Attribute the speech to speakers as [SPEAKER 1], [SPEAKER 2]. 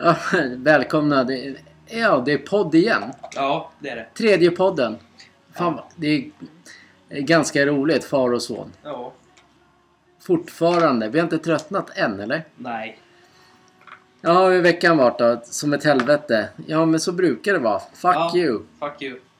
[SPEAKER 1] Ja, välkomna. Det är, ja, det är podd igen.
[SPEAKER 2] Ja, det är det.
[SPEAKER 1] Tredje podden. Fan, det är det är ganska roligt, far och son.
[SPEAKER 2] Ja.
[SPEAKER 1] Fortfarande. Vi har inte tröttnat än, eller?
[SPEAKER 2] Nej.
[SPEAKER 1] Ja, hur har veckan varit då? Som ett helvete. Ja, men så brukar det vara. Fuck
[SPEAKER 2] ja,
[SPEAKER 1] you.
[SPEAKER 2] Fuck you.